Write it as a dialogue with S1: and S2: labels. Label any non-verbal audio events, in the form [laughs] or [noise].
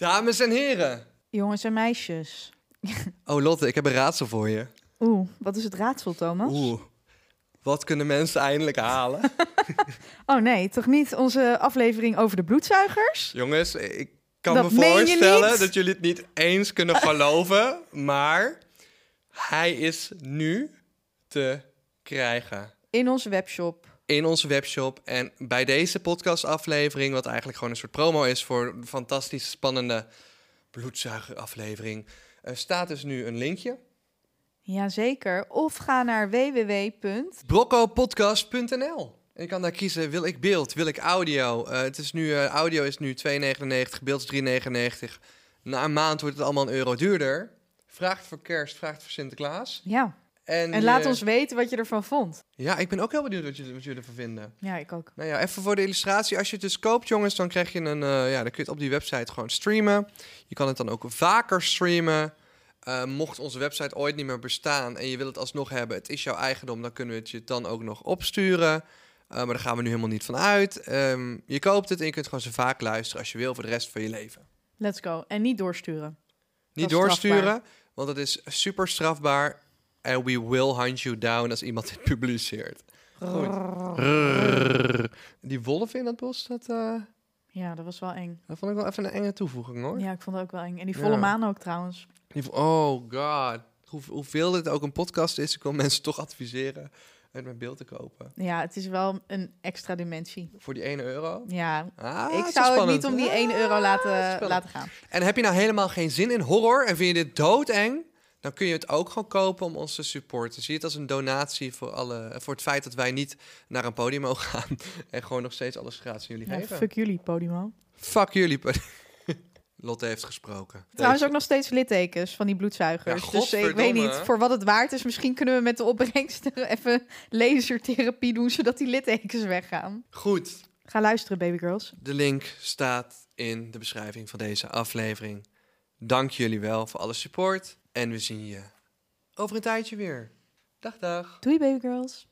S1: Dames en heren.
S2: Jongens en meisjes.
S1: Oh Lotte, ik heb een raadsel voor je.
S2: Oeh, wat is het raadsel, Thomas?
S1: Oeh. Wat kunnen mensen eindelijk
S2: [laughs]
S1: halen?
S2: Oh nee, toch niet onze aflevering over de bloedzuigers?
S1: Jongens, ik kan
S2: Dat
S1: me
S2: meen je
S1: voorstellen
S2: niet?
S1: dat jullie het niet eens kunnen
S2: [laughs]
S1: geloven, maar hij is nu te krijgen
S2: In onze webshop.
S1: in onze webshop en bij deze podcastaflevering, wat eigenlijk gewoon een soort promo is voor een fantastisch spannende bloedzuigeraflevering, eh, staat dus nu een linkje.
S2: Jazeker. Of ga naar www.
S1: broccopodcast.nl. En je kan daar kiezen, wil ik beeld, wil ik audio. Eh, het is nu, eh, audio is nu 2,99, beeld is 3,99. Na een maand wordt het allemaal een euro duurder. Vraagt voor kerst, vraagt voor Sinterklaas.
S2: Ja.
S1: En,
S2: En laat
S1: eh,
S2: ons weten wat je ervan vond.
S1: Ja, ik ben ook heel benieuwd wat jullie, wat jullie ervan vinden.
S2: Ja, ik ook.
S1: Nou ja, even voor de illustratie. Als je het dus koopt, jongens, dan krijg je een. eh, ja, dan kun je het op die website gewoon streamen. Je kan het dan ook vaker streamen. Eh, mocht onze website ooit niet meer bestaan en je wil het alsnog hebben, het is jouw eigendom, dan kunnen we het je dan ook nog opsturen. Eh, maar daar gaan we nu helemaal niet van uit. Ehm, je koopt het en je kunt gewoon zo vaak luisteren als je wil voor de rest van je leven.
S2: Let's go. En niet doorsturen.
S1: Niet
S2: Dat is
S1: doorsturen,
S2: strafbaar.
S1: want het is super strafbaar. En we will hunt you down als iemand dit publiceert. Rrrr. Die wolf in dat bos, dat. eh,
S2: Ja, dat was wel eng.
S1: Dat vond ik wel even een enge toevoeging hoor.
S2: Ja, ik vond het ook wel eng. En die
S1: Ja.
S2: volle maan ook trouwens.
S1: Die vo- Oh god. Hoe, hoeveel dit ook een podcast is, ik wil mensen toch adviseren het met beeld te kopen.
S2: Ja, het is wel een extra dimensie.
S1: Voor die 1 euro.
S2: Ja.
S1: Ah,
S2: ik
S1: is wel
S2: zou het
S1: spannend.
S2: niet om die
S1: Ah,
S2: 1 euro
S1: is
S2: laten,
S1: spannend.
S2: laten gaan.
S1: En heb je nou helemaal geen zin in horror en vind je dit doodeng? Dan kun je het ook gewoon kopen om ons te supporten. Zie het als een donatie voor, alle, voor het feit dat wij niet naar een podium mogen gaan. [laughs] En gewoon nog steeds alles gratis aan jullie
S2: Ja,
S1: geven.
S2: fuck jullie, Podimo.
S1: Fuck jullie. [laughs] Lotte heeft gesproken.
S2: Trouwens ook nog steeds littekens van die bloedzuigers.
S1: Ja,
S2: dus eh, ik weet niet
S1: godverdomme.
S2: voor wat het waard is. Misschien kunnen we met de opbrengsten [laughs] even lasertherapie doen, zodat die littekens weggaan.
S1: Goed.
S2: Ga luisteren, babygirls.
S1: De link staat in de beschrijving van deze aflevering. Dank jullie wel voor alle support. En we zien je over een tijdje weer. Dag, dag.
S2: Doei, babygirls.